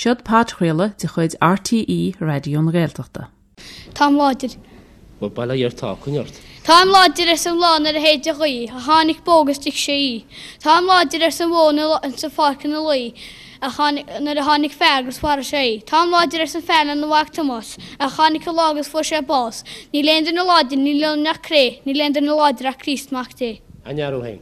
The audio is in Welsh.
Siod páthhuiile de chuid RTí radioún réalteachta. Tá láidir. Wel, bael a i'r ta, cwniart. Táim láidir ar san lán ar a héide lí, a tháinig bógus tic sé í. Táim láidir ar san bhna an sa farcan na lí, nar a tháinig fergus fara sé í. Táim láidir ar san fena na bhaachtamás, a tháinig go lágus fu sé bás. Ní leanar na láidir ní leanach cré, ní leanar na láidir a Christmach dé. Aniarw hein.